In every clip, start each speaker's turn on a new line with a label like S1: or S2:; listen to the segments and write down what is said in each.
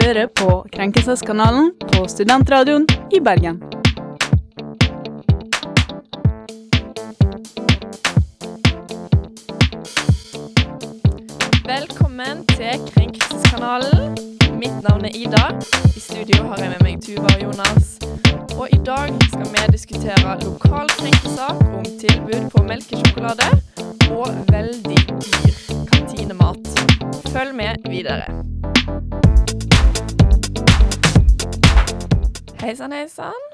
S1: hører på Krenkelseskanalen på Studentradioen i Bergen.
S2: Velkommen til Krenkelseskanalen. Mitt navn er Ida. I studio har jeg med meg Tuva og Jonas. Og i dag skal vi diskutere lokalkrenkelser, om tilbud på melkesjokolade og veldig dyr kantinemat. Følg med videre. Hei sann, hei sann.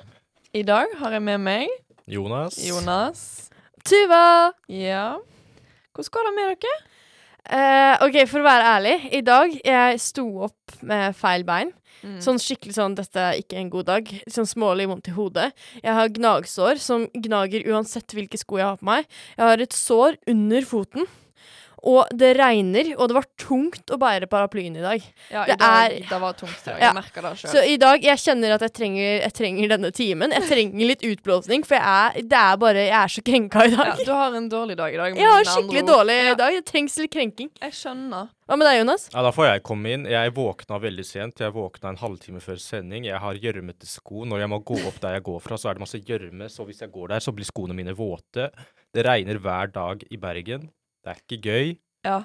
S2: I dag har jeg med meg
S3: Jonas.
S2: Jonas.
S4: Tuva!
S2: Ja. Hvordan går det med dere?
S4: Eh, ok, for å være ærlig, i dag jeg sto opp med feil bein.
S2: Sånn
S4: Sånn skikkelig sånn 'dette er ikke en god dag'. Sånn smålig vondt i hodet. Jeg har gnagsår som gnager uansett hvilke sko jeg har på meg. Jeg har et sår under foten. Og det regner, og det var tungt å bære paraplyen i dag.
S2: Ja, i
S4: Det
S2: dag,
S4: er-
S2: det var tungt i dag.
S4: Ja.
S2: Jeg merker det sjøl.
S4: Så i dag, jeg kjenner at jeg trenger, jeg trenger denne timen. Jeg trenger litt utblåsning, for jeg er, det er bare, jeg er så krenka i
S2: Ja,
S4: dag.
S2: du har en dårlig dag i dag. men
S4: Jeg har
S2: med andre
S4: skikkelig
S2: ord.
S4: dårlig
S2: Ja.
S4: dag. Det trengs litt krenking.
S2: Jeg skjønner.
S4: Hva med deg, Jonas?
S3: Ja, da får jeg komme inn. Jeg våkna veldig sent. Jeg våkna en halvtime før sending. Jeg har gjørmete sko. Når jeg må gå opp der jeg går fra, så er det masse gjørme. Så hvis jeg går der, så blir skoene mine våte. Det regner hver dag i Bergen. Det er ikke gøy.
S2: Ja. Mm.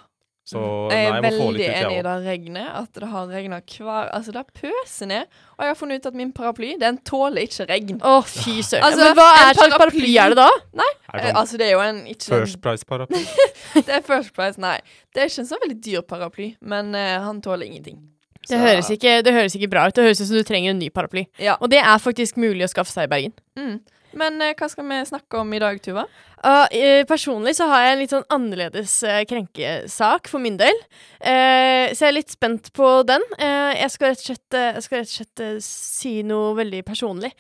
S2: jeg
S3: Så nei,
S2: er
S3: jeg må få
S2: veldig
S3: litt ut,
S2: enig i
S3: jeg òg.
S2: det regnet. At det har regna hver Altså, det pøser ned. Og jeg har funnet ut at min paraply, den tåler ikke regn.
S3: Sånn.
S4: Å, fy søren.
S2: Altså,
S4: Men hva
S2: en
S4: er slags
S2: paraply-
S4: paraply er det da?
S3: Er
S2: Eh,
S3: det sånn
S2: Altså, det er jo en ikke
S3: First Price-paraply?
S2: Det er First Price, nei. Det er ikke en så veldig dyr paraply, men eh, han tåler ingenting.
S4: Det høres, ikke, det høres ikke bra ut. Det høres ut som du trenger en ny paraply.
S2: Ja.
S4: Og det er faktisk mulig å skaffe seg i Bergen.
S2: Mm. Men eh, hva skal vi snakke om i dag, Tuva?
S4: Uh, eh, personlig så har jeg en litt sånn annerledes eh, krenkesak for min del. Eh, så jeg er litt spent på den. Eh, jeg skal rett og slett, eh, jeg skal rett og slett eh, si noe veldig personlig.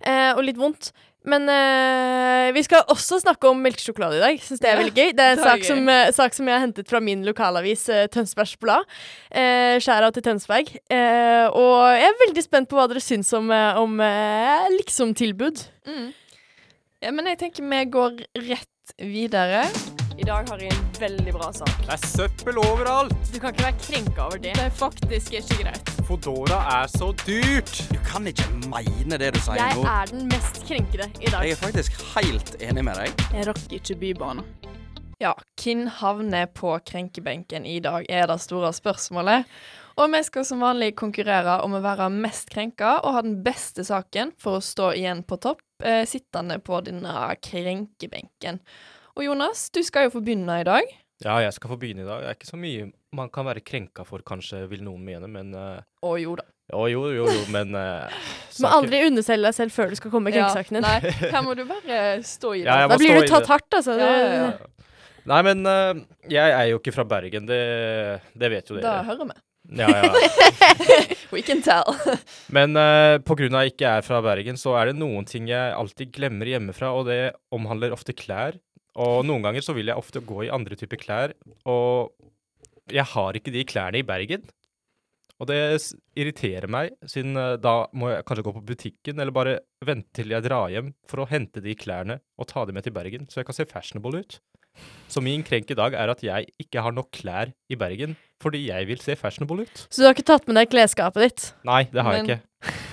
S4: Eh, og litt vondt. Men eh, vi skal også snakke om melkesjokolade i dag. Syns det er
S2: Ja,
S4: veldig gøy. Det er en
S2: det er
S4: sak som, eh, sak som jeg har hentet fra min lokalavis eh, Tønsbergs Blad. Eh, Skjæra til Tønsberg. Eh, og jeg er veldig spent på hva dere syns om, eh, om eh, liksom-tilbud.
S2: Mm. Ja, men jeg tenker vi går rett videre. I dag har jeg en veldig bra sak.
S3: Det er søppel overalt!
S4: Du kan ikke være krenka over det.
S2: Det er faktisk ikke greit.
S3: Fodora er så dyrt!
S5: Du kan ikke mene det du sier
S4: Jeg
S5: nå.
S4: er den mest krenkede i dag.
S5: Jeg er faktisk helt enig med deg.
S1: Jeg rakk ikke Bybanen.
S2: Ja, hvem havner på krenkebenken i dag, er det store spørsmålet. Og vi skal som vanlig konkurrere om å være mest krenka og ha den beste saken for å stå igjen på topp, eh, sittende på denne krenkebenken. Og Jonas, du skal jo få begynne i dag.
S3: Ja, jeg skal få begynne i dag. Det er ikke så mye man kan være krenka for, kanskje, vil noen mene, men eh,
S2: Å jo da.
S3: Jo, jo, jo, jo, men eh,
S4: Du må
S3: saker-
S4: aldri underselge deg selv før du skal komme med
S2: Ja,
S4: krenkesaken din.
S2: nei, her må du bare stå i det.
S3: Ja, jeg må
S4: da blir
S3: stå i
S4: du tatt hardt, altså.
S2: Ja, ja, ja.
S3: Nei, men eh, jeg er jo ikke fra Bergen, det, det vet jo
S2: Da
S3: dere.
S2: hører vi.
S3: Ja, ja.
S2: We can tell.
S3: Men eh, på grunn av at jeg ikke er fra Bergen, så er det noen ting jeg alltid glemmer hjemmefra, og det omhandler ofte klær. Og noen ganger så vil jeg ofte gå i andre typer klær, og jeg har ikke de klærne i Bergen. Og det s- irriterer meg, siden eh, da må jeg kanskje gå på butikken, eller bare vente til jeg drar hjem for å hente de klærne og ta dem med til Bergen, så jeg kan se fashionable ut. Så min krenk i dag er at jeg ikke har nok klær i Bergen, fordi jeg vil se fashionable ut.
S4: Så du har ikke tatt med deg klesskapet ditt?
S3: Nei, det har jeg
S2: Men-
S3: ikke.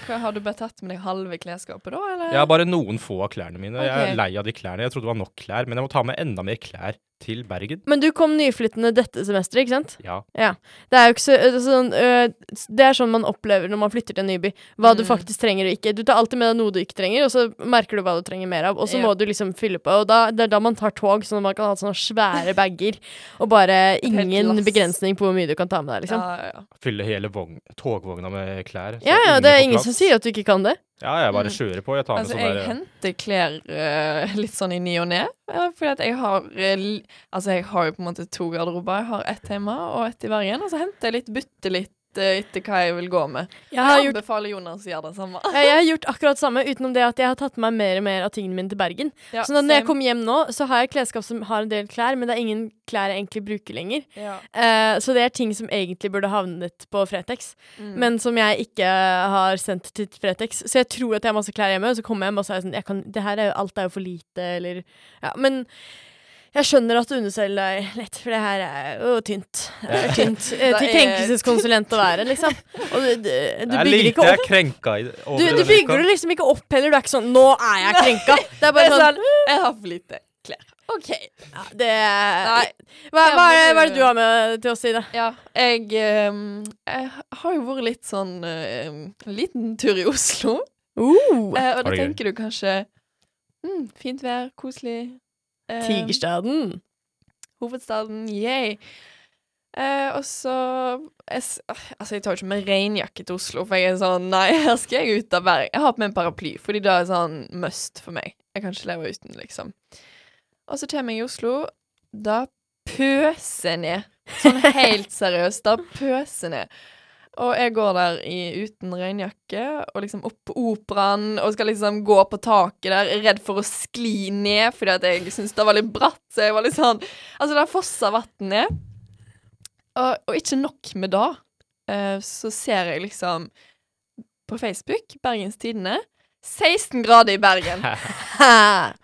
S2: Hva, har du bare tatt med deg halve klesskapet da, eller?
S3: Jeg har bare noen få av klærne mine. Jeg
S2: Ok.
S3: er lei av de klærne. Jeg trodde det var nok klær, men jeg må ta med enda mer klær til Bergen.
S4: Men du kom nyflyttende dette semesteret, ikke sant?
S3: Ja.
S4: Det er jo ikke så, øh, sånn, øh, det er sånn man opplever når man flytter til en ny by, hva du
S2: Mm.
S4: faktisk trenger og ikke. Du tar alltid med deg noe du ikke trenger, og så merker du hva du trenger mer av, og så
S2: Ja.
S4: må du liksom fylle på. Og da, det er da man tar tog, sånn at man kan ha sånne svære bager, og bare
S2: helt
S4: ingen
S2: lass.
S4: begrensning på hvor mye du kan ta med deg,
S2: ja,
S4: liksom.
S2: ja.
S3: Fylle hele vogn, togvogna med klær. så
S4: Ja, ja, det
S3: får
S4: er ingen
S3: plass.
S4: som sier at Mm. du ikke kan det.
S3: Ja, jeg bare kjører på. Jeg tar med
S2: Altså, jeg
S3: sånn der
S2: henter klær eh, litt sånn i ny og ne. eh, fordi at jeg har eh, l- Altså, jeg har jo på en måte to garderober. Jeg har ett hjemme og ett i Bergen. Og så henter jeg litt, bytter litt eh, etter hva jeg vil gå med.
S4: Jeg har
S2: Jeg
S4: gjort
S2: anbefaler Jonas å gjøre det samme.
S4: Ja, jeg har gjort akkurat det samme, utenom det at jeg har tatt med meg mer og mer av tingene mine til Bergen.
S2: Ja,
S4: så da når jeg
S2: same.
S4: kommer hjem nå, så har jeg klesskap som har en del klær, men det er ingen klær jeg egentlig bruker lenger.
S2: Ja.
S4: Eh, så det er ting som egentlig burde havnet på Fretex,
S2: Mm.
S4: men som jeg ikke har sendt til Fretex. Så jeg tror at jeg har masse klær hjemme, og så kommer jeg hjem og så er jeg sånn jeg kan, det her er jo, Alt er jo for lite, eller Ja, men Jeg skjønner at du underselger deg litt, for det her er jo tynt. Det er
S3: Ja.
S4: tynt eh,
S2: Det
S4: til
S2: er-
S4: krenkelseskonsulent å være, liksom. Og du, du, du
S3: Det er
S4: bygger
S3: lite
S4: ikke
S3: jeg er
S4: opp.
S3: krenka i det- over
S4: Du, du
S3: denne uka.
S4: bygger det liksom ikke opp heller. Du er ikke sånn 'nå er jeg krenka'. Det er
S2: Det
S4: bare
S2: er
S4: sånn
S2: sånn, jeg har for lite klær. OK.
S4: ja, det
S2: Nei.
S4: Hva, hva, er, hva er det du har med til oss, Ida?
S2: Ja, jeg, ehm, jeg har jo vært litt sånn eh, En liten tur i Oslo.
S4: Uh,
S2: Eh, og da
S3: Var det gøy?
S2: tenker du kanskje mm, Fint vær, koselig. Eh,
S4: Tigerstaden.
S2: Hovedstaden, yay. Eh, og så jeg, s- Altså, jeg tar jo ikke med regnjakke til Oslo, for jeg er sånn Nei, her skal jeg ut av Bergen. Jeg har på meg en paraply, fordi det er sånn must for meg. Jeg kan ikke leve uten, liksom. Og så kommer jeg i Oslo. Da pøser ned. Sånn helt seriøst. Da pøser ned. Og jeg går der i, uten regnjakke og liksom opp på operaen og skal liksom gå på taket der, redd for å skli ned fordi at jeg syns det var litt bratt. Så jeg var litt sånn Altså, det fosser vann ned. Og, og ikke nok med det, eh, så ser jeg liksom på Facebook, Bergens Tidende, 16 grader i Bergen.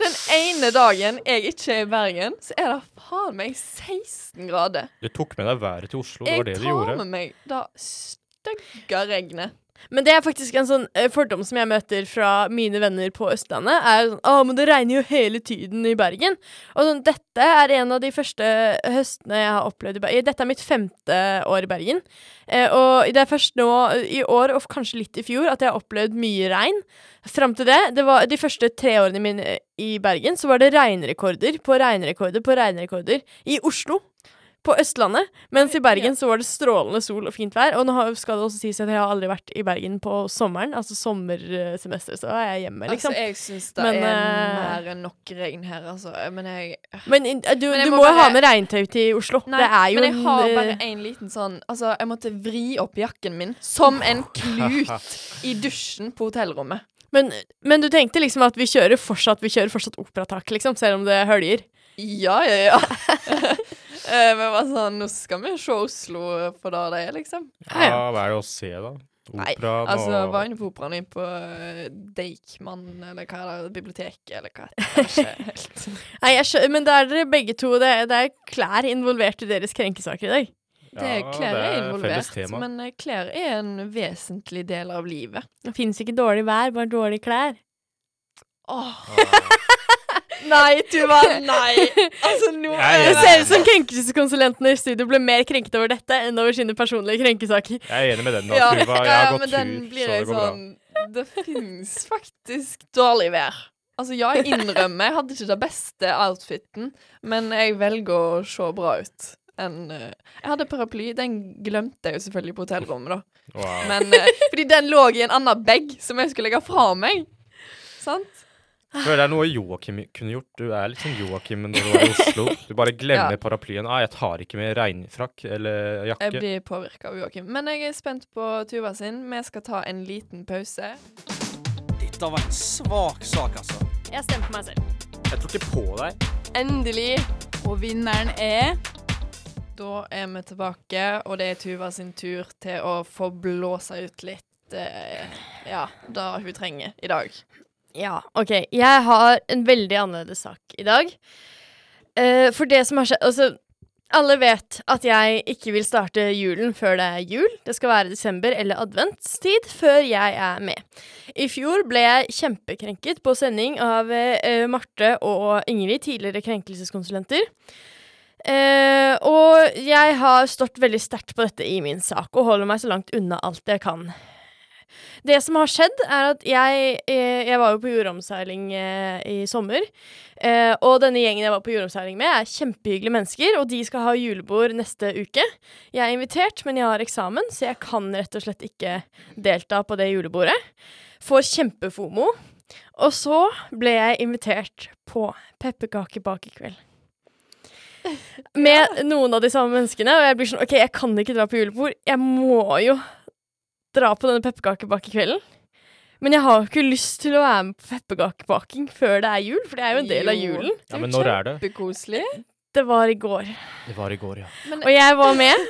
S2: Den ene dagen jeg ikke er i Bergen, så er det faen meg 16 grader.
S3: Du tok med deg været til Oslo, det
S2: Jeg
S3: var det du
S2: tar
S3: gjorde.
S2: med meg det stygge regnet.
S4: Men det er faktisk en sånn eh, fordom som jeg møter fra mine venner på Østlandet. er jo sånn, Å, men det regner jo hele tiden i Bergen. Og sånn, dette er en av de første høstene jeg har opplevd i Bergen. Dette er mitt femte år i Bergen. Eh, og det er først nå eh, i år, og kanskje litt i fjor, at jeg har opplevd mye regn. Fram til det, det var de første tre årene mine eh, i Bergen, så var det regnrekorder på regnrekorder på regnrekorder i Oslo. På Østlandet. Mens i Bergen så var det strålende sol og fint vær. Og nå har- skal det også sies at jeg har aldri vært i Bergen på sommeren, altså sommersemester, så er jeg hjemme, liksom.
S2: Altså, jeg syns det
S4: Men,
S2: er
S4: eh,
S2: mer enn nok regn her, altså. Men jeg
S4: Men i- du,
S2: jeg
S4: du
S2: må
S4: må jo
S2: bare-
S4: ha med regntøy til Oslo.
S2: Nei,
S4: det er jo
S2: men jeg har
S4: en,
S2: bare
S4: eh,
S2: en liten sånn Altså, jeg måtte vri opp jakken min som en klut i dusjen på hotellrommet.
S4: men, men du tenkte liksom at vi kjører fortsatt Vi kjører fortsatt operatak, liksom, selv om det høljer.
S2: Ja, ja, ja. Eh, Men var sånn Nå skal vi se Oslo for det det er, liksom.
S4: Ja, ja.
S3: Ja, hva er det å se, da?
S2: Nei,
S3: Operaen
S2: Altså, jeg var
S3: og
S2: inne på operaen inne på eh, Deichman, eller hva er det, biblioteket, eller hva heter det? Jeg vet ikke helt.
S4: Nei, jeg skjø men da er dere begge to Det, det er klær involvert i deres krenkesaker i dag.
S2: Det er
S3: Ja,
S2: klær
S3: det
S2: er
S3: er felles
S2: involvert,
S3: tema.
S2: men eh, klær er en vesentlig del av livet.
S4: Det fins ikke dårlig vær, bare dårlige klær.
S2: Åh,
S3: Ah,
S4: Nei, Tuva!
S2: nei! Altså, nå
S3: Jeg er
S2: er
S3: enig.
S4: Det
S2: det
S4: ser ut som krenkelseskonsulentene i studio ble mer krenket over dette enn over sine personlige krenkesaker.
S3: Jeg er enig med den, da, Tuva. Jeg har gått tur, så det går
S4: sånn-
S3: bra.
S2: sånn, Det fins faktisk dårlig vær. Altså, ja, jeg innrømmer, jeg hadde ikke det beste outfiten, men jeg velger å se bra ut. enn, eh, jeg hadde paraply. Den glemte jeg jo selvfølgelig på hotellrommet, da.
S3: Wow.
S2: Men, eh, fordi den lå i en annen bag som jeg skulle legge fra meg. Sant?
S3: Føler det er noe Joakim kunne gjort. Du er litt sånn Joakim når du er i Oslo. Du bare glemmer
S2: Ja.
S3: paraplyen. Ah, 'Jeg tar ikke med regnfrakk eller
S2: Jeg
S3: jakke'.
S2: blir påvirka av Joakim. Men jeg er spent på Tuva sin. Vi skal ta en liten pause.
S5: Dette var en svak sak, altså.
S4: Jeg stemmer på meg selv.
S3: Jeg tror ikke på deg.
S4: Endelig.
S1: Og vinneren er
S2: Da er vi tilbake, og det er Tuva sin tur til å få blåse ut litt eh, Ja, det hun trenger i dag.
S4: Ja, OK. Jeg har en veldig annerledes sak i dag. Eh, for det som har skjedd Altså, alle vet at jeg ikke vil starte julen før det er jul. Det skal være desember eller adventstid før jeg er med. I fjor ble jeg kjempekrenket på sending av eh, Marte og Ingrid, tidligere krenkelseskonsulenter. Eh, og jeg har stått veldig sterkt på dette i min sak og holder meg så langt unna alt jeg kan. Det som har skjedd, er at jeg, eh, jeg var jo på jordomseiling eh, i sommer. Eh, og denne gjengen jeg var på jordomseiling med, er kjempehyggelige mennesker, og de skal ha julebord neste uke. Jeg er invitert, men jeg har eksamen, så jeg kan rett og slett ikke delta på det julebordet. Får kjempefomo. Og så ble jeg invitert på pepperkakebakekveld. Med noen av de samme menneskene, og jeg blir sånn OK, jeg kan ikke dra på julebord. Jeg må jo dra på denne pepperkakebakekvelden. Men jeg har jo ikke lyst til å være med på pepperkakebaking før det er jul, for det er jo en del av
S2: Jo.
S4: julen.
S3: Ja, men når er det?
S2: Kjempekoselig.
S4: Det var i går.
S3: Det var i går, ja.
S2: Men
S4: Og jeg var med.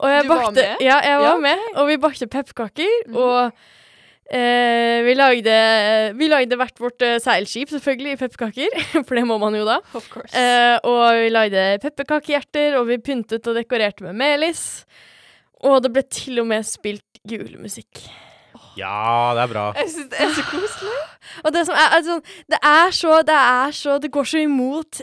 S4: Og jeg
S2: Du var
S4: bakte,
S2: med?
S4: Ja, jeg var
S2: Ja,
S4: med. Og vi bakte pepperkaker.
S2: Mhm.
S4: Og Eh, vi, lagde, vi lagde hvert vårt eh, seilskip, selvfølgelig, i pepperkaker. For det må man jo da.
S2: Of course.
S4: Eh, og vi lagde pepperkakehjerter, og vi pyntet og dekorerte med melis. Og det ble til og med spilt julemusikk.
S3: Ja, det er bra.
S2: jeg syns det er så koselig.
S4: Og det som er, er sånn Det er så Det er så Det går så imot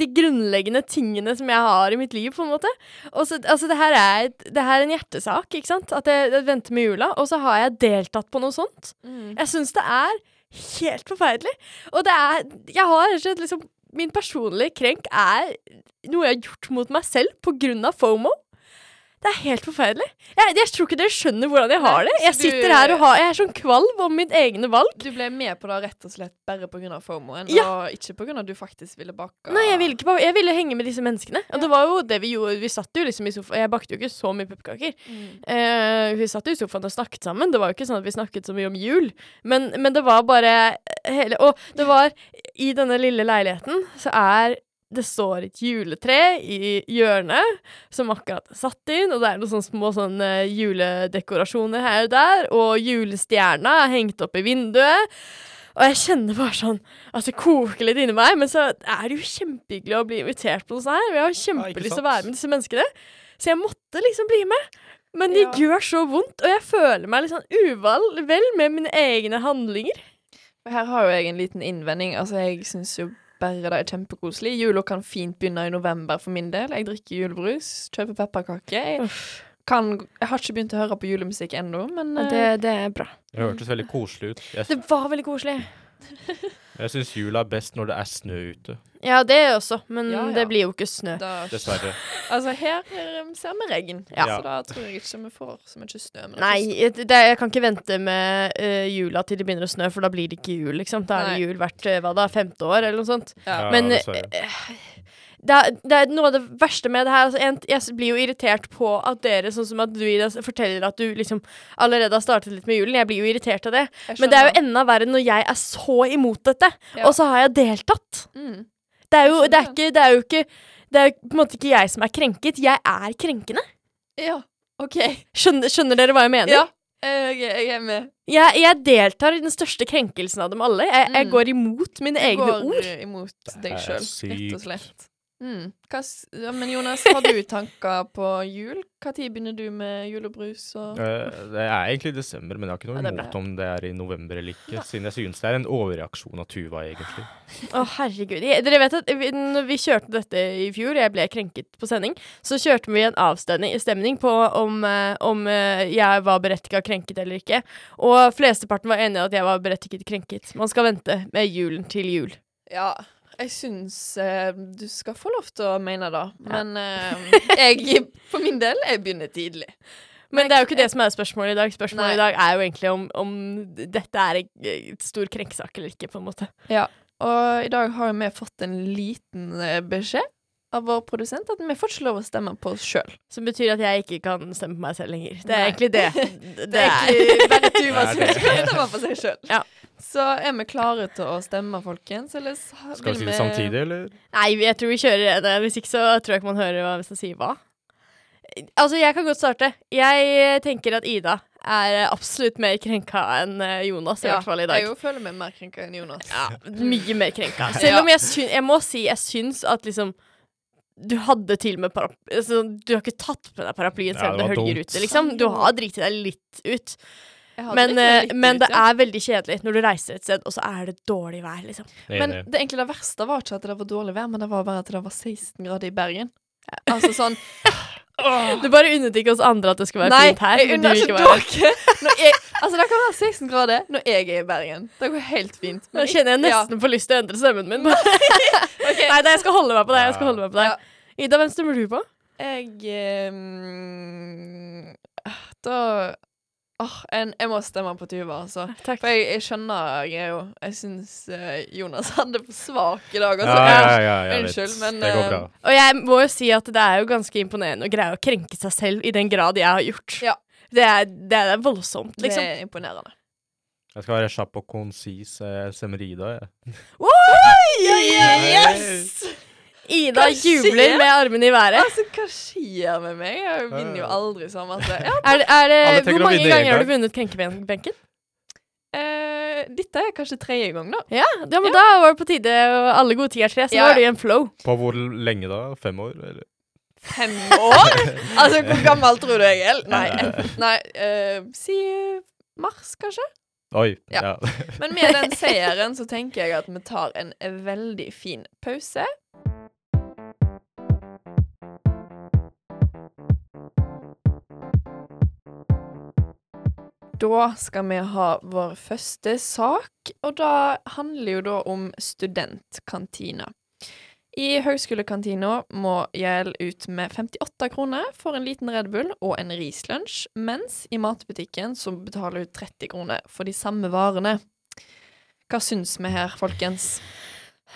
S4: de grunnleggende tingene som jeg har i mitt liv, på en måte. Og så, altså, det her er, et- det her er en hjertesak, ikke sant? At jeg, jeg venter med jula, og så har jeg deltatt på noe sånt.
S2: Mm.
S4: Jeg syns det er helt forferdelig. Og det er Jeg har rett og slett liksom Min personlige krenk er noe jeg har gjort mot meg selv på grunn av FOMO. Det er helt forferdelig. Jeg, jeg tror ikke dere skjønner hvordan jeg har det. Jeg
S2: så du-
S4: sitter her og har, jeg er sånn kvalm om mitt egne valg.
S2: Du ble med på det rett og slett bare pga. fomoen, og ikke pga. du faktisk ville bake.
S4: Nei, jeg ville, ikke, bare- jeg ville henge med disse menneskene. Og det var jo det vi gjorde. Vi satt jo liksom i sofaen. Jeg bakte jo ikke så mye pepperkaker.
S2: Mm.
S4: Eh, vi satt jo i sofaen og snakket sammen. Det var jo ikke sånn at vi snakket så mye om jul. Men, men det var bare hele Og det var I denne lille leiligheten så er det står et juletre i hjørnet som akkurat er satt inn, og det er noen sånne små sånne eh, juledekorasjoner her og der, og julestjerna er hengt opp i vinduet. Og jeg kjenner bare sånn at det koker litt inni meg, men så er det jo kjempehyggelig å bli invitert på noe sånt her. og Jeg har
S3: Ja, ikke
S4: kjempelyst til å
S3: sant?
S4: være med disse menneskene, så jeg måtte liksom bli med. Men det
S2: Ja.
S4: gjør så vondt, og jeg føler meg litt sånn uvel vel med mine egne handlinger.
S2: Her har jo jeg en liten innvending. Altså, jeg syns jo bare det er kjempekoselig. Jula kan fint begynne i november for min del. Jeg drikker julebrus, kjøper pepperkaker. Jeg, kan, jeg har ikke begynt å høre på julemusikk ennå, men
S4: Ja,
S2: eh,
S4: er bra.
S3: Det hørtes veldig koselig ut. Jeg,
S4: Det var veldig koselig.
S3: jeg syns jula er best når det er snø ute.
S4: Ja, det også, men
S2: Ja, ja.
S4: det blir jo ikke snø.
S2: da,
S3: Dessverre.
S2: altså, her eh, ser vi regn,
S4: Ja.
S2: så da tror jeg ikke vi får så mye snø. men det
S4: Nei,
S2: er
S4: jeg- det, jeg kan ikke vente med eh, jula til det begynner å snø, for da blir det ikke jul, liksom. Da er det
S2: Nei.
S4: jul hvert eh, hva da, femte år, eller noe sånt.
S2: Ja. eh,
S3: Ja,
S4: Men,
S3: dessverre.
S4: Det er, det er noe av det verste med det her. Altså, en, jeg blir jo irritert på at dere, sånn som at du Ida, forteller at du liksom allerede har startet litt med julen. Jeg blir jo irritert av det.
S2: Jeg
S4: Men det er jo
S2: skjønner.
S4: enda verre når jeg er så imot dette,
S2: Ja.
S4: og så har jeg deltatt.
S2: Mm.
S4: Det er jo,
S2: Jeg skjønner
S4: det er ikke, det er jo ikke Det er jo på en måte ikke jeg som er krenket, jeg er krenkende.
S2: Ja, OK.
S4: Skjønner, skjønner dere hva jeg mener?
S2: Ja, jeg, jeg er med.
S4: Jeg, jeg deltar i den største krenkelsen av dem alle. Jeg, jeg
S2: Mm.
S4: går imot mine egne
S2: går
S4: ord.
S2: eh, imot
S3: er
S2: deg sjøl, rett
S3: sykt.
S2: og slett. Mm. Hva, s- ja, men Jonas, har du tanker på jul? Når begynner du med julebrus og
S3: Eh, Det er egentlig i desember, men jeg har ikke noe
S2: Ja, det er bra.
S3: imot om det er i november eller ikke, siden jeg synes det er en overreaksjon av Tuva, egentlig.
S4: Å, herregud. Jeg, dere vet at vi, når vi kjørte dette i fjor, jeg ble krenket på sending, så kjørte vi en avstemning stemning på om, eh, om eh, jeg var berettiget krenket eller ikke. Og flesteparten var enige i at jeg var berettiget krenket. Man skal vente med julen til jul.
S2: Ja, jeg syns eh, du skal få lov til å mene det, men eh, jeg for min del, jeg begynner tidlig.
S4: Men det er jo ikke det som er spørsmålet i dag. Spørsmålet
S2: Nei.
S4: i dag er jo egentlig om, om dette er en eh, stor krenkesak eller ikke, på en måte.
S2: Og i dag har jo vi fått en liten eh, beskjed av vår produsent at vi får ikke lov å stemme på oss sjøl.
S4: Som betyr at jeg ikke kan stemme på meg selv lenger. Det er
S2: Nei.
S4: egentlig det.
S2: Det er egentlig bare Tuva som
S3: Nei, det-
S2: ikke kan stemme på seg sjøl.
S4: Ja.
S2: Så er vi klare til å stemme, folkens? Eller s-
S3: Skal vi si
S2: vil
S3: det samtidig, eller?
S4: Nei, jeg tror vi kjører det. Hvis ikke så tror jeg ikke man hører hva hvis man sier hva. Altså, jeg kan godt starte. Jeg eh, tenker at Ida er eh, absolutt mer krenka enn eh, Jonas, i hvert fall i dag.
S2: Jeg jo føler meg mer krenka enn Jonas.
S4: Ja, mye mer krenka. Selv om jeg, syn, jeg må si jeg syns at liksom du hadde til og med paraply altså, Du har ikke tatt med deg paraplyen
S3: Ja,
S4: selv om
S3: det
S4: det
S3: var
S4: høljer
S3: dumt.
S4: ute, liksom. Du har driti deg litt ut.
S2: Jeg hadde
S4: Men,
S2: litt mer liksom.
S4: eh,
S2: litt
S4: men
S2: ut,
S4: det
S2: ja.
S4: er veldig kjedelig når du reiser et sted, og så er det dårlig vær, liksom.
S2: Men
S3: Enig.
S2: det, egentlig det verste var ikke at det var dårlig vær, men det var bare at det var 16 grader i Bergen. Altså sånn
S4: Du bare unnet ikke oss andre at det skulle være
S2: Nei,
S4: fint her.
S2: jeg
S4: men
S2: unner
S4: du
S2: ikke
S4: ikke var her.
S2: dere! Når jeg, altså, det kan være 16 grader når jeg er i Bergen. Det går helt fint.
S4: Nå kjenner jeg
S2: Ja.
S4: nesten på lyst til å endre stemmen min. Nei, da, jeg skal holde meg på deg. Jeg skal holde meg på deg. Ida, hvem stemmer du på?
S2: Jeg ehm, Da Åh, en, jeg må stemme på Tuva, altså.
S4: Takk.
S2: For jeg, jeg skjønner jeg er jo Jeg syns eh, Jonas hadde for svak i dag,
S3: Ja,
S2: altså.
S3: ja, ja, jeg vet.
S2: Unnskyld, men, eh,
S3: Det går bra.
S4: Og jeg må jo si at det er jo ganske imponerende å greie å krenke seg selv i den grad jeg har gjort.
S2: Ja.
S4: Det, er, det er voldsomt,
S2: Det
S4: liksom.
S2: er imponerende.
S3: Jeg skal være kjapp og konsis. Jeg stemmer Ida, jeg.
S4: Oi!
S3: Yes!
S4: Ida
S2: Hva skjer?
S4: jubler med armene i været.
S2: Altså, hva skjer med meg? Jeg vinner jo aldri så masse. Ja,
S4: Er, det- er det,
S3: Alle tenker
S4: hvor
S3: å
S4: mange
S3: vinne en
S4: ganger har
S3: gang.
S4: du vunnet krenkebenken?
S2: Eh, dette er kanskje tredje gang, da.
S4: Ja, ja men da var det på tide, og alle gode ting er tre, så
S2: Ja, ja.
S4: nå er det jo en flow.
S3: På hvor lenge da? Fem år? Eller?
S2: Fem år? altså, hvor gammel tror du jeg er? Nei, nei eh, si eh, mars, kanskje?
S3: Oi.
S2: Ja.
S3: Ja.
S2: Men med den seieren så tenker jeg at vi tar en veldig fin pause. Da skal vi ha vår første sak, og da handler jo da om studentkantina. I høgskolekantina må Gjell ut med 58 kroner for en liten Red Bull og en rislunsj, mens i matbutikken så betaler hun 30 kroner for de samme varene. Hva syns vi her, folkens?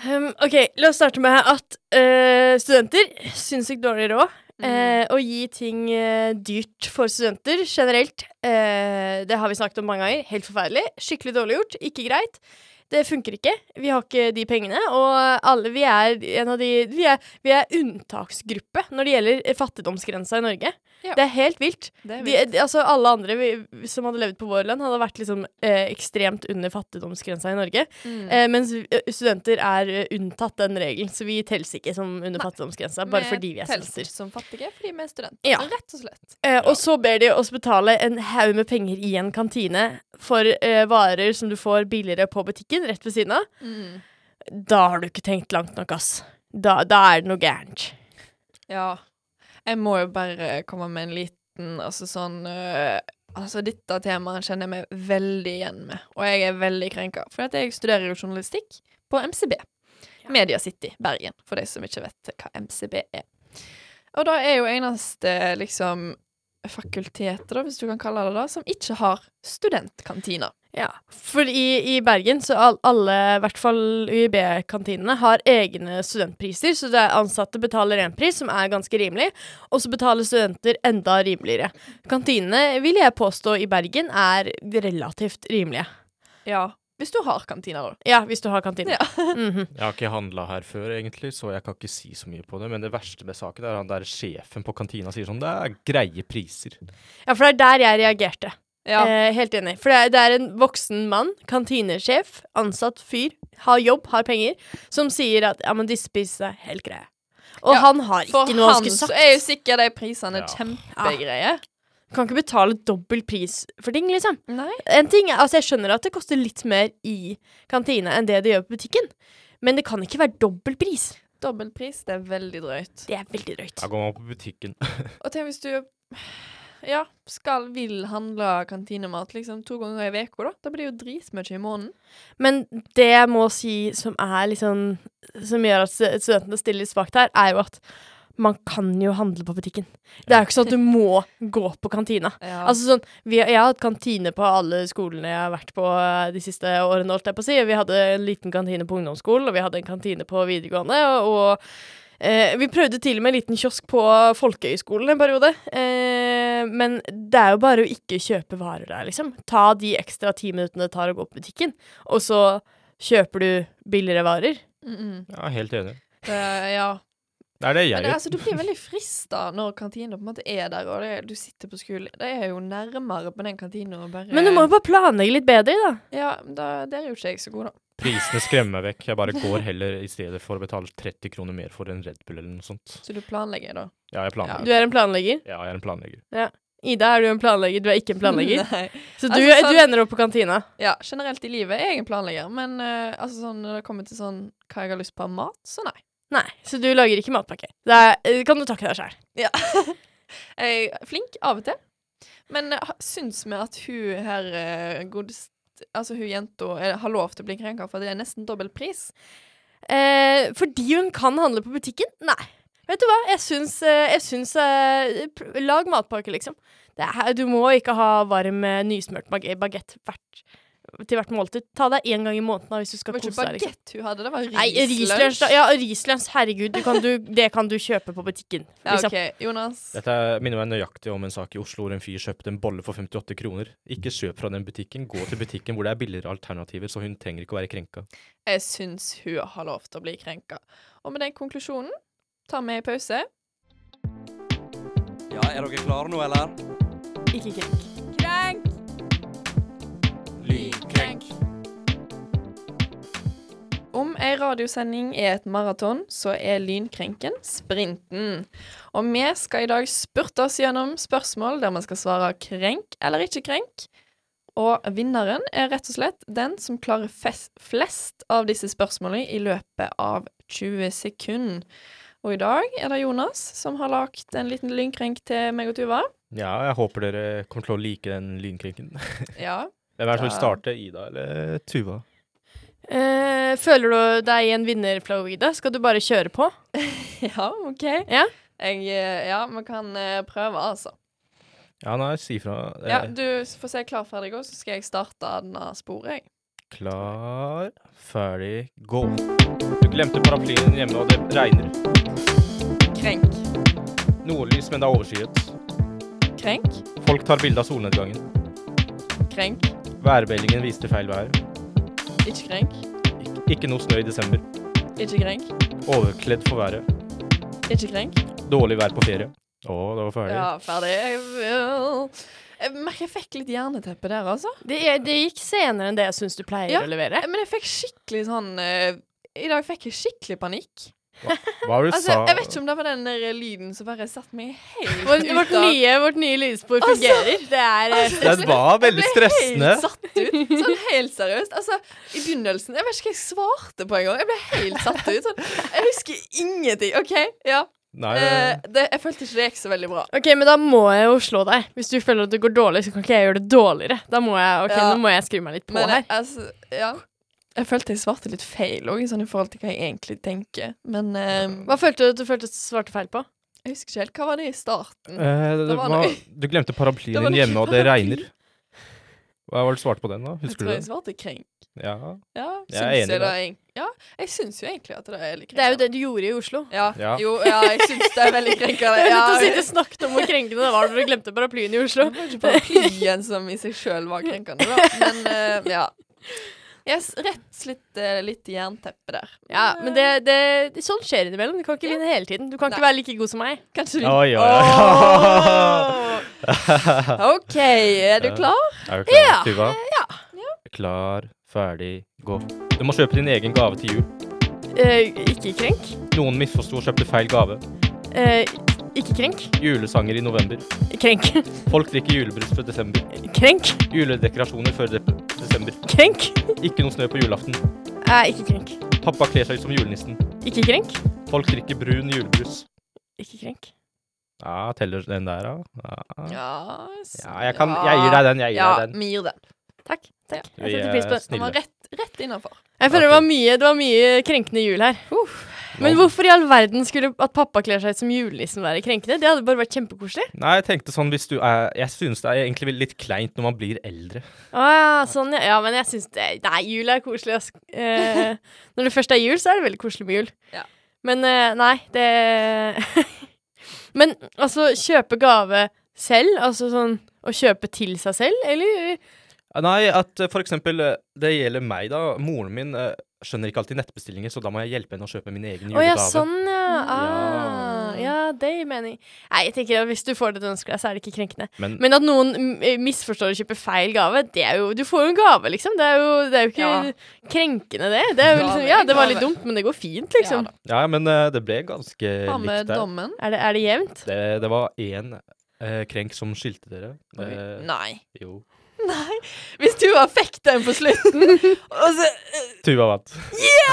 S4: Um, ok, la oss starte med at eh, studenter sinnssykt dårlig råd. Eh, å gi ting eh, dyrt for studenter generelt, eh, det har vi snakket om mange ganger. Helt forferdelig. Skikkelig dårlig gjort. Ikke greit. Det funker ikke. Vi har ikke de pengene. Og alle vi er en av de Vi er, vi er unntaksgruppe når det gjelder fattigdomsgrensa i Norge.
S2: Ja.
S4: Det er helt vilt.
S2: Det er
S4: De, de, altså alle andre vi, som hadde levd på vår lønn, hadde vært liksom, eh, ekstremt under fattigdomsgrensa i Norge.
S2: Mm.
S4: Eh, mens vi- eh, studenter er eh, unntatt den regelen, så vi telles ikke som under fattigdomsgrensa. Bare
S2: Vi
S4: fordi vi er
S2: telles
S4: studenter.
S2: som fattige fordi vi er studenter.
S4: Ja.
S2: Rett og slett.
S4: Eh, og så ber de oss betale en haug med penger i en kantine for eh, varer som du får billigere på butikken rett ved siden av.
S2: Mm.
S4: Da har du ikke tenkt langt nok, ass. Da, da er det noe gærent.
S2: Ja. Jeg må jo bare komme med en liten altså sånn øh, Altså, dette temaet kjenner jeg meg veldig igjen med, og jeg er veldig krenka. For at jeg studerer jo journalistikk på MCB. Media City, Bergen, for de som ikke vet hva MCB er. Og da er jo eneste liksom fakultetet, da, hvis du kan kalle det det, som ikke har studentkantina.
S4: Ja, for i, i Bergen så all, alle, i hvert fall UiB-kantinene, har egne studentpriser. Så det er ansatte betaler én pris, som er ganske rimelig, og så betaler studenter enda rimeligere. Kantinene, vil jeg påstå, i Bergen er relativt rimelige.
S2: Ja. Hvis du har kantina, da.
S4: Ja, hvis du har kantine. Mhm.
S3: Jeg har ikke handla her før, egentlig, så jeg kan ikke si så mye på det. Men det verste med saken er han der sjefen på kantina sier sånn Det er greie priser.
S4: Ja, for det er der jeg reagerte.
S2: Ja.
S4: Eh, helt enig. For det er, det er en voksen mann, kantinesjef, ansatt fyr, har jobb, har penger, som sier at ja, men disse prisene er helt greie. Og
S2: Ja,
S4: han har
S2: For
S4: ikke noe han
S2: han
S4: skulle sagt. Ah,
S2: så er jo sikkert de prisene
S3: Ja.
S2: kjempegreie.
S4: kan ikke betale dobbel pris for ting, liksom.
S2: Nei.
S4: En ting er, altså Jeg skjønner at det koster litt mer i kantina enn det det gjør på butikken, men det kan ikke være dobbel pris.
S2: Dobbeltpris, det er veldig drøyt.
S4: Det er veldig drøyt.
S3: Da går man på butikken.
S2: Og tenk hvis du ja, skal, vil handle kantinemat liksom to ganger i uka, da. Da blir det jo dritmye i måneden.
S4: Men det jeg må si som er liksom Som gjør at stu- studentene stiller litt svakt her, er jo at man kan jo handle på butikken. Det er jo ikke sånn at du må gå på kantina.
S2: Ja.
S4: Altså sånn, vi, Jeg har hatt kantine på alle skolene jeg har vært på eh, de siste årene. holdt jeg på å si. Vi hadde en liten kantine på ungdomsskolen, og vi hadde en kantine på videregående. og... og, eh, vi prøvde til og med en liten kiosk på folkehøyskolen en periode. Eh, men det er jo bare å ikke kjøpe varer der, liksom. Ta de ekstra ti minuttene det tar å gå på butikken, og så kjøper du billigere varer.
S2: mm -mm.
S3: Ja, helt enig.
S2: Det, ja.
S3: Det er det jeg
S2: Men det,
S3: gjør.
S2: altså, du blir veldig frista når kantina på en måte er der, og det, du sitter på skolen. Det er jo nærmere på den kantina og bare
S4: Men du må jo bare planlegge litt bedre, da.
S2: Ja, da, der er jo ikke jeg så god, da.
S3: Prisene skremmer meg vekk. Jeg bare går heller i stedet for å betale 30 kroner mer for en Red Bull eller noe sånt.
S2: Så du planlegger, da.
S3: Ja, jeg
S4: Du
S3: planlegger.
S4: er en planlegger.
S3: Ja, jeg er en planlegger.
S4: Ida, er du en planlegger? Du er ikke en planlegger.
S2: Nei.
S4: Så du,
S2: Altså, sånn-
S4: du ender opp på kantina.
S2: Ja, generelt i livet er jeg en planlegger, men eh, altså, sånn, når det kommer til sånn hva jeg har lyst på av mat, så nei.
S4: Nei, så du lager ikke matpakke. Det er, eh, kan du takke deg sjæl.
S2: Jeg er flink av og til. Men eh, ha- syns vi at hun her eh, godest Altså hun jenta eh, har lov til å bli krenka, for det er nesten dobbel pris.
S4: Eh, fordi hun kan handle på butikken? Nei. Vet du hva, jeg syns, eh, jeg syns eh, pr- Lag matpakke, liksom. Det er, du må ikke ha varm, eh, nysmurt bagett hvert, til hvert måltid. Ta deg én gang i måneden da, hvis du
S2: Det
S4: skal
S2: var ikke
S4: kose deg. Liksom.
S2: bagett hun hadde, det var
S4: Nei, rislunsj, da.
S2: rislunsj.
S4: Ja, rislunsj, herregud. Du kan, du, det kan du kjøpe på butikken.
S2: Ja,
S4: Liksom.
S2: OK, Jonas.
S3: Dette er- minner meg nøyaktig om en sak i Oslo hvor en fyr kjøpte en bolle for 58 kroner. Ikke kjøp fra den butikken, gå til butikken hvor det er billigere alternativer, så hun trenger ikke å være krenka.
S2: Jeg syns hun har lov til å bli krenka. Og med den konklusjonen tar vi en pause.
S5: Ja, er dere klare nå, eller?
S4: Ikke krenk.
S5: Lynkrenk.
S2: radiosending er et maraton, så er lynkrenken sprinten. Og vi skal i dag spurte oss gjennom spørsmål der man skal svare krenk eller ikke krenk. Og vinneren er rett og slett den som klarer fes- flest av disse spørsmålene i løpet av 20 sekunder. Og i dag er det Jonas som har lagt en liten lynkrenk til meg og Tuva.
S3: Ja, jeg håper dere kommer til å like den lynkrenken.
S2: Ja.
S3: Hvem er det som vil
S2: Da-
S3: starte? Ida eller Tuva?
S4: Eh, føler du deg i en vinnerflow, Ida? Skal du bare kjøre på?
S2: Ja, OK.
S4: Ja.
S2: Jeg, eh, ja, man kan eh, prøve, altså.
S3: Ja, nei, si fra. Eh,
S2: Ja, du får se klar, ferdig, gå, så skal jeg starte denne sporet, jeg.
S3: Klar, ferdig, gå. Du glemte paraplyen din hjemme, og det regner.
S2: Krenk.
S3: Nordlys, men det er overskyet.
S2: Krenk.
S3: Folk tar bilde av solnedgangen.
S2: Krenk.
S3: Værmeldingen viste feil vær.
S2: Ikke krenk.
S3: Ik ikke noe snø i desember.
S2: Ikke krenk.
S3: Overkledd for været.
S2: Ikke krenk.
S3: Dårlig vær på ferie. Å, det var ferdig.
S2: Ja, ferdig. Jeg, jeg merker jeg fikk litt jerneteppe der, altså.
S4: Det, er, det gikk senere enn det jeg syns du pleier
S2: Ja.
S4: å levere.
S2: Men jeg fikk skikkelig sånn eh, I dag fikk jeg skikkelig panikk.
S3: Hva var det du
S2: Altså,
S3: sa?
S2: Jeg vet ikke om det var den der lyden som bare satte meg helt ut
S4: Vårt,
S2: av
S4: vårt, nye, vårt nye lydspor fungerer. Det er eh,
S3: Den var veldig stressende.
S2: Helt satt ut. Sånn helt seriøst. Altså, I begynnelsen Jeg vet ikke hva jeg svarte på engang. Jeg ble helt satt ut. Sånn, jeg husker ingenting. OK, ja.
S3: Nei,
S2: Eh,
S3: det-
S2: det, jeg følte ikke det gikk så veldig bra.
S4: OK, men da må jeg jo slå deg. Hvis du føler at det går dårlig, så kan ikke jeg gjøre det dårligere. Da må jeg, ok,
S2: Ja.
S4: Nå må jeg skrive meg litt på
S2: Men
S4: her.
S2: jeg, altså, ja. Jeg følte jeg svarte litt feil òg, sånn i forhold til hva jeg egentlig tenker. Men eh,
S4: Hva følte du at du følte at du svarte feil på?
S2: jeg husker ikke helt. Hva var det i starten?
S3: eh, det,
S2: det var
S3: var,
S2: noe-
S3: du glemte
S2: Det
S3: paraplyen
S2: var
S3: din
S2: noe
S3: hjemme, og det
S2: paraply.
S3: regner. Hva var det du svarte på den, da?
S2: Jeg
S3: Husker
S2: tror
S3: du
S2: jeg
S3: det?
S2: svarte krenk.
S3: Ja.
S2: Ja,
S3: Jeg
S2: syns
S3: er enig
S2: jeg
S3: i
S2: det. er- Ja, jeg syns jo egentlig at det er litt krenk.
S4: Det er jo det du gjorde i Oslo.
S2: Ja,
S3: Ja.
S2: Jo, ja, jeg syns det er veldig krenkende.
S4: Ja.
S2: Ja.
S4: Du sitter og snakket om hvor krenkende det var når du glemte paraplyen i Oslo.
S2: Det var ikke paraplyen som i seg sjøl var krenkende, da. Men eh, ja. Yes, rett slitt eh, litt jernteppe der.
S4: Ja, men det, det, det sånn skjer innimellom. Du kan ikke vinne hele tiden. Du kan ikke være like god som meg.
S2: Kanskje vi
S3: Oi, oi, oi.
S2: Åh! OK, er du klar?
S3: Er du klar,
S4: Ja.
S3: Tuva? Klar, ferdig, gå. Du må kjøpe din egen gave til jul.
S4: Eh, ikke krenk.
S3: Noen misforsto og kjøpte feil gave.
S4: Eh, ikke krenk.
S3: Julesanger i november.
S4: Krenk.
S3: Folk drikker julebrus før desember.
S4: Krenk.
S3: Juledekorasjoner før de desember.
S4: Krenk.
S3: Ikke noe snø på julaften.
S4: Eh, ikke krenk.
S3: Pappa kler seg ut som julenissen.
S4: Ikke krenk.
S3: Folk drikker brun julebrus.
S4: Ikke krenk.
S3: Ja, teller den der, da? Ja,
S2: Ja, s-
S3: ja jeg, kan, jeg gir deg den. Jeg gir
S2: Ja,
S3: deg den.
S2: vi gir den.
S4: Takk. takk.
S3: Vi
S4: Jeg setter
S3: er
S4: pris på det.
S2: Den
S3: snille.
S2: var rett, rett innafor.
S4: Jeg føler det var mye, det var mye krenkende jul her. Men
S3: Nå-
S4: hvorfor i all verden skulle at pappa kler seg ut som julenissen være krenkende? Det hadde bare vært kjempekoselig.
S3: Nei, jeg tenkte sånn hvis du er Jeg synes det er egentlig litt kleint når man blir eldre.
S4: Å ja, sånn ja. ja. Men jeg syns det Nei, jul er koselig, ass. Eh, når det først er jul, så er det veldig koselig med jul.
S2: Ja.
S4: Men eh, nei, det Men altså, kjøpe gave selv? Altså sånn å kjøpe til seg selv, eller?
S3: Eh, Nei, at eh, for eksempel eh, Det gjelder meg, da. Moren min eh, skjønner ikke alltid nettbestillinger, så da må jeg hjelpe henne å kjøpe min egen
S4: Å ja,
S3: julegave.
S4: sånn ja. Ah,
S2: Ja.
S4: ja, det gir mening. Nei, jeg tenker at hvis du får det du ønsker deg, så er det ikke krenkende.
S3: Men,
S4: Men at noen mm, misforstår og kjøper feil gave, det er jo Du får jo en gave, liksom. Det er jo, det er jo ikke
S2: Ja.
S4: krenkende, det. det er
S2: Gave
S4: jo liksom,
S2: er
S4: ja,
S2: en
S4: det var litt
S2: gave.
S4: dumt, men det går fint, liksom.
S2: Ja
S3: ja, men eh, det ble ganske
S2: Ha med
S3: likt der.
S2: dommen.
S4: er, det, er det jevnt?
S3: Det, det var én eh, krenk som skilte dere. Eh,
S2: Nei.
S3: jo.
S2: Hvis du har fikk den på slutten, og så
S3: Tuva vant.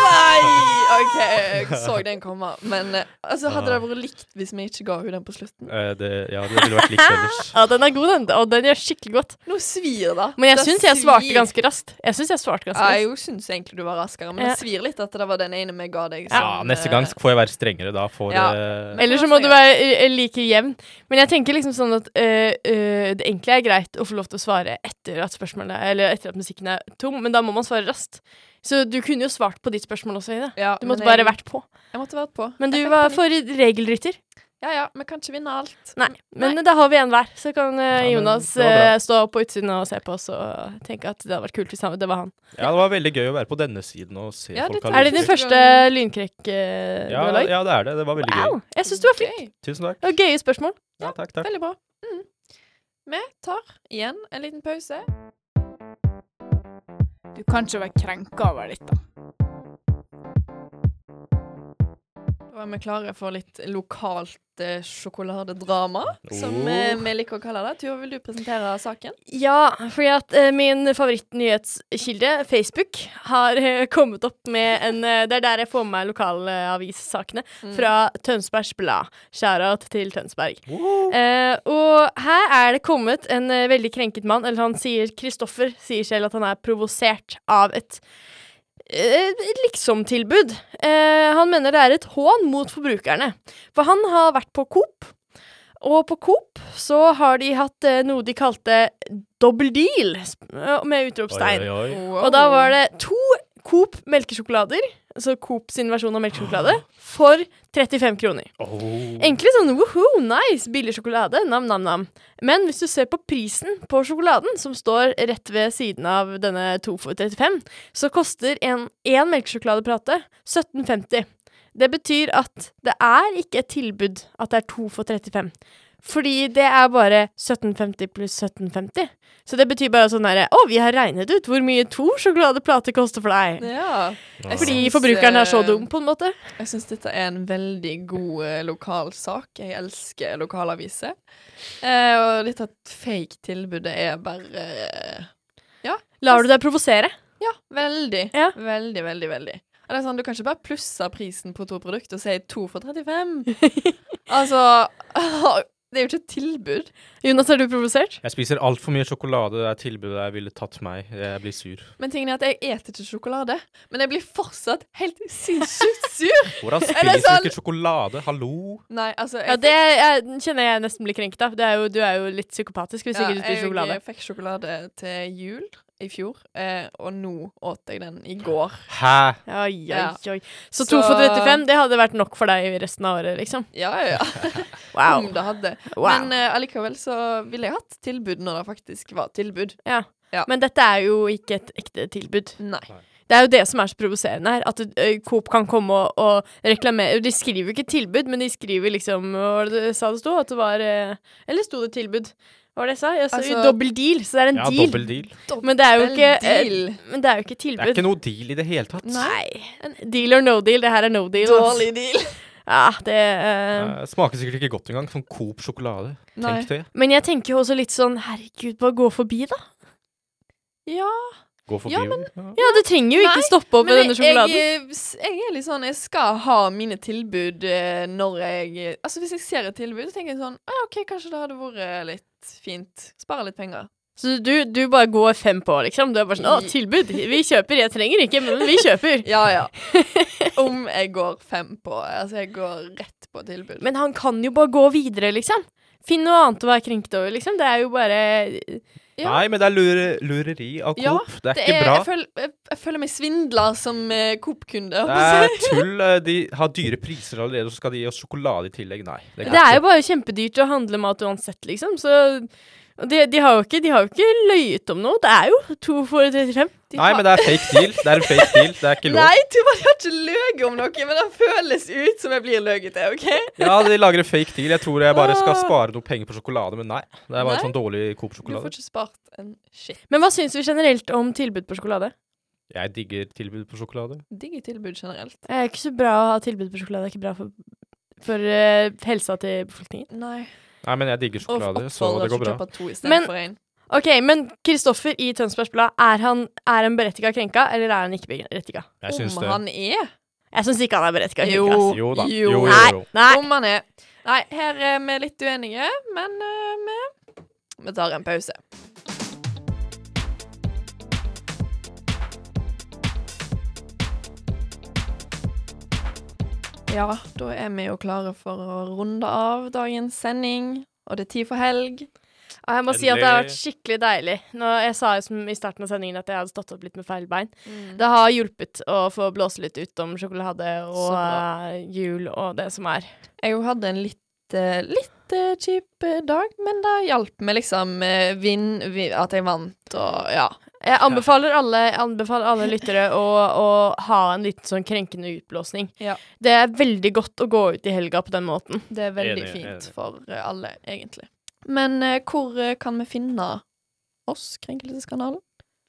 S2: Nei! OK, jeg så den komme. Men eh, altså, hadde det vært likt hvis vi ikke ga henne den på slutten?
S3: Eh, det, ja, det ville vært likt ellers.
S4: Ja, den er god, den. Og den gjør skikkelig godt.
S2: Nå svir det.
S4: Men jeg
S2: Det
S4: syns jeg
S2: svir.
S4: svarte ganske raskt. Jeg syns jeg svarte ganske
S2: Ja,
S4: raskt.
S2: jeg syns egentlig du var raskere, men
S4: Ja.
S2: det svir litt at det var den ene vi ga deg.
S3: Ja,
S2: som,
S3: neste gang
S2: eh,
S3: får jeg være strengere. Da får
S2: Ja.
S3: eh,
S2: Men-
S4: Eller så må du være eh, like jevn. Men jeg tenker liksom sånn at eh, eh, det egentlig er greit å få lov til å svare etter at spørsmålet Eller etter at musikken er tom, men da må man svare raskt. Så du kunne jo svart på ditt spørsmål også, Ida.
S2: ja,
S4: Du
S2: men
S4: måtte bare
S2: jeg,
S4: vært på.
S2: Jeg måtte vært på.
S4: Men du
S2: Jeg fikk
S4: var
S2: panikk.
S4: for regelrytter.
S2: Ja ja, vi kan ikke vinne alt.
S4: Nei. Men da har vi en hver. Så kan eh,
S3: men
S4: Jonas
S3: det var bra.
S4: eh, stå på utsiden og se på oss og tenke at det hadde vært kult hvis han, det var han.
S3: ja, det var veldig gøy å være på denne siden og se
S2: Ja,
S3: folk
S2: det
S3: ha
S2: tror jeg.
S4: Er det din
S3: lyst.
S4: første lynkrekk eh, du
S3: Ja,
S4: har lagd?
S3: ja, det er det. Det var veldig
S4: Wow!
S3: gøy.
S4: Jeg syns du var flink.
S2: Gøy.
S3: Tusen takk.
S4: Det var gøye spørsmål.
S3: Ja, takk, takk.
S2: Veldig bra. Mm. Vi tar igjen en liten pause.
S1: Du kan ikke være krenka over dette.
S2: Da er vi klare for litt lokalt eh, sjokoladedrama, som
S3: Oh.
S2: eh, vi liker å kalle det. Tuva, vil du presentere saken?
S4: Ja, fordi at eh, min favorittnyhetskilde, Facebook, har eh, kommet opp med en eh, Det er der jeg får med meg lokalavissakene. Fra Tønsbergs Blad. Shout-out til Tønsberg. Eh, og her er det kommet en eh, veldig krenket mann. Eller han sier Kristoffer sier selv at han er provosert av et eh, liksom-tilbud. Eh, han mener det er et hån mot forbrukerne. For han har vært på Coop. Og på Coop så har de hatt eh, noe de kalte double deal, sp- eh, med utropstegn.
S3: Oi, oi, oi.
S2: Wow.
S4: Og da var det to Coop melkesjokolader, altså Coop sin versjon av melkesjokolade, for 35 kroner.
S3: Oh.
S4: Egentlig sånn woho, nice, billig sjokolade, nam-nam-nam. Men hvis du ser på prisen på sjokoladen, som står rett ved siden av denne 2 for 35, så koster en én melkesjokoladeplate 17,50. Det betyr at det er ikke et tilbud at det er 2 for 35. Fordi det er bare 17,50 pluss 17,50. Så det betyr bare sånn derre Å, vi har regnet ut hvor mye to sjokoladeplater koster for deg.
S2: Ja. Jeg
S4: Fordi
S2: syns,
S4: forbrukeren er så
S2: eh,
S4: dum, på en måte.
S2: Jeg syns dette er en veldig god eh, lokalsak. Jeg elsker lokalaviser. Eh, og dette fake-tilbudet er bare eh,
S4: Lar du deg provosere?
S2: Ja, veldig.
S4: Ja.
S2: Veldig, veldig, veldig. Og Det er sånn, du kan ikke bare plusse prisen på to produkter og si to for 35. altså Det er jo ikke et tilbud.
S4: Jonas, er du provosert?
S3: Jeg spiser altfor mye sjokolade. Det er tilbudet jeg ville tatt meg. Jeg blir sur.
S2: Men tingen er at jeg eter ikke sjokolade. Men jeg blir fortsatt helt sinnssykt sur. Er
S3: Hvordan
S2: det
S3: spiser du
S2: sant?
S3: ikke sjokolade? Hallo?
S2: Nei, altså jeg
S4: Ja, det jeg, kjenner jeg nesten blir krenket av. Du er jo, du er jo litt psykopatisk hvis
S2: Ja,
S4: ikke du spiser sjokolade.
S2: Jeg eh, fikk sjokolade til jul i fjor, eh, og nå åt jeg den i går.
S3: Hæ?
S4: Oi, oi,
S2: Ja.
S4: oi. Så
S2: Så-
S4: 2 for 35, det hadde vært nok for deg resten av året, liksom.
S2: Ja, ja, ja.
S4: Wow.
S2: Om det hadde.
S4: wow. Men,
S2: Men eh, allikevel så ville jeg hatt tilbud når det faktisk var tilbud. ja.
S4: dette er jo ikke et ekte tilbud.
S2: Nei.
S4: Det er jo det som er så provoserende her. At ø, Coop kan komme og, og reklamere De skriver jo ikke tilbud, men de skriver liksom Hva var det det sa det sto? At det var ø, Eller sto det tilbud? Hva var det jeg sa? Jeg sa jo
S2: Altså-
S4: dobbel deal, så det er en
S3: Ja,
S4: deal.
S3: dobbel deal.
S4: Men det er jo
S2: Vel,
S4: ikke, ø,
S2: deal.
S4: men det er jo ikke
S3: Det er
S4: tilbud.
S3: ikke noe deal i det hele tatt.
S4: Nei. Deal or no deal. Det her er no deal. ass.
S2: Dårlig deal.
S4: Ja, det eh,
S3: Eh, smaker sikkert ikke godt engang. Sånn Coop sjokolade.
S2: Nei.
S3: Tenk det.
S4: Men jeg tenker jo også litt sånn Herregud, bare gå forbi, da.
S2: Ja,
S3: Gå forbi.
S2: Ja,
S3: jo. Ja.
S4: Ja, du trenger jo ikke stoppe opp ved
S2: men
S4: denne
S2: jeg,
S4: sjokoladen.
S2: jeg, eh, jeg er litt sånn Jeg skal ha mine tilbud eh, når jeg Altså Hvis jeg ser et tilbud, så tenker jeg sånn ah, OK, kanskje det hadde vært litt fint. Spare litt penger.
S4: Så du, du bare går fem på, liksom. Du er bare sånn Å, tilbud! Vi kjøper. Jeg trenger ikke, men vi kjøper.
S2: Ja, ja. Om jeg går fem på Altså, jeg går rett på tilbud.
S4: Men han kan jo bare gå videre, liksom. Finn noe annet å være krenket over, liksom. Det er jo bare
S2: Ja.
S3: Nei, men det er lure, lureri av
S2: Ja,
S3: Coop. det er
S2: Det
S3: ikke
S2: er,
S3: bra.
S2: jeg, føl, jeg, jeg føler meg svindler som eh, Coop-kunde.
S3: Det er tull. eh, De har dyre priser allerede, og så skal de gi oss sjokolade i tillegg. Nei. Det
S4: Det er jo bare kjempedyrt å handle mat uansett, liksom. Så og de, de, har jo ikke, de har jo ikke løyet om noe. Det er jo to for 35.
S2: De
S3: Nei,
S2: har-
S3: men det er fake deal. Det er en fake deal. Det er ikke lov.
S2: Nei, Tuva, de har ikke løyet om noe, men det føles ut som jeg blir løyet til, OK?
S3: Ja, de lager en fake deal. Jeg tror jeg bare skal
S2: Åh.
S3: spare noe penger på sjokolade, men nei. Det er bare
S2: Nei.
S3: sånn dårlig
S2: Du får
S3: Coop-sjokolade.
S2: ikke spart en shit.
S4: Men hva syns vi generelt om tilbud på sjokolade?
S3: Jeg digger tilbud på sjokolade.
S2: Digge tilbud generelt.
S4: Det er ikke så bra å ha tilbud på sjokolade. Det er ikke bra for, for eh, helsa til befolkningen.
S2: Nei.
S3: Nei, men jeg digger
S2: Og
S3: sjokolade, så
S2: oppfordrer
S3: det går
S2: ikke
S3: bra.
S2: kjøpe to
S4: Men-
S2: istedenfor én.
S4: Ok, Men Kristoffer i Tønsbergs Blad, er han, er han berettiga krenka, eller er han ikke berettiga?
S3: Jeg syns
S2: Om
S3: det. altså,
S2: han er
S4: Jeg syns ikke han er berettiga
S2: Jo.
S4: krenka. ass.
S3: Jo da.
S2: Jo.
S3: Jo, jo,
S4: Nei,
S3: jo.
S4: nei.
S2: Om han er Nei, her er vi litt uenige, men eh, vi Vi tar en pause. Ja, da er vi jo klare for å runde av dagens sending. Og det er tid for helg.
S4: Ja, Jeg må si at det har vært skikkelig deilig. Nå, jeg sa jo som i starten av sendingen at jeg hadde stått opp litt med feil bein. Det har hjulpet å få blåse litt ut om sjokolade
S2: Så
S4: og
S2: bra.
S4: eh, jul og det som er.
S2: Jeg hadde en litt, eh, litt eh, kjip eh, dag, men det hjalp med liksom eh, vinn, vi- at jeg vant og ja.
S4: Jeg anbefaler alle, anbefaler alle lyttere å, å ha en liten sånn krenkende utblåsning.
S2: Ja.
S4: Det er veldig godt å gå ut i helga på den måten.
S2: Det er veldig
S3: Enig,
S2: fint
S3: enig.
S2: for eh, alle, egentlig. Men eh, hvor eh, kan vi finne oss, Krenkelseskanalen?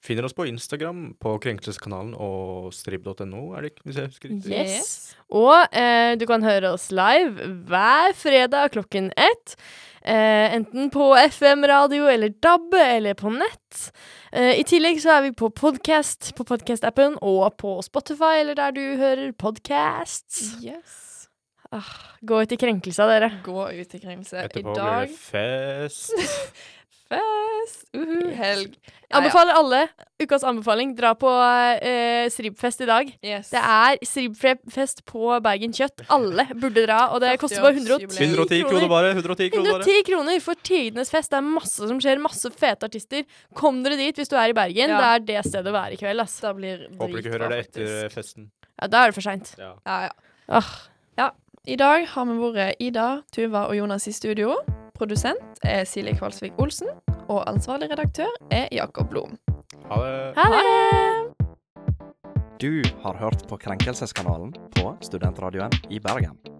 S3: Finner oss på Instagram, på krenkelseskanalen og strib.no, er det ikke? Hvis jeg husker riktig.
S4: Yes. Og eh, du kan høre oss live hver fredag klokken ett. Eh, enten på FM-radio eller DAB eller på nett. Eh, I tillegg så er vi på podkast på podkast-appen og på Spotify eller der du hører podcasts.
S2: Yes.
S4: Gå ut i krenkelser, dere.
S2: Gå ut i krenkelse. I
S3: Etterpå blir
S2: dag
S3: det fest.
S2: fest! Uhu,
S4: Yes.
S2: helg.
S4: Jeg anbefaler alle ukas anbefaling. Dra på eh, stribfest i dag.
S2: Yes.
S4: Det er stribfest på Bergen Kjøtt. Alle burde dra, og det koster bare 110
S2: Jubileum.
S3: 110 kroner bare. 110 kroner bare.
S4: 110 kroner for tidenes fest. Det er masse som skjer, masse fete artister. Kom dere dit hvis du er i Bergen.
S2: Ja.
S4: Det er det stedet å være i kveld. Ass.
S2: Da blir dritbra,
S3: Håper du ikke hører det
S2: faktisk.
S3: etter festen.
S4: Ja, da er det for seint.
S3: Ja.
S2: Ja, ja.
S4: Åh,
S2: I dag har vi vært Ida, Tuva og Jonas i studio. Produsent er Silje Kvalsvik Olsen. Og ansvarlig redaktør er Jakob Blom.
S3: Ha det.
S4: Ha det!
S5: Du har hørt på Krenkelseskanalen på Studentradioen i Bergen.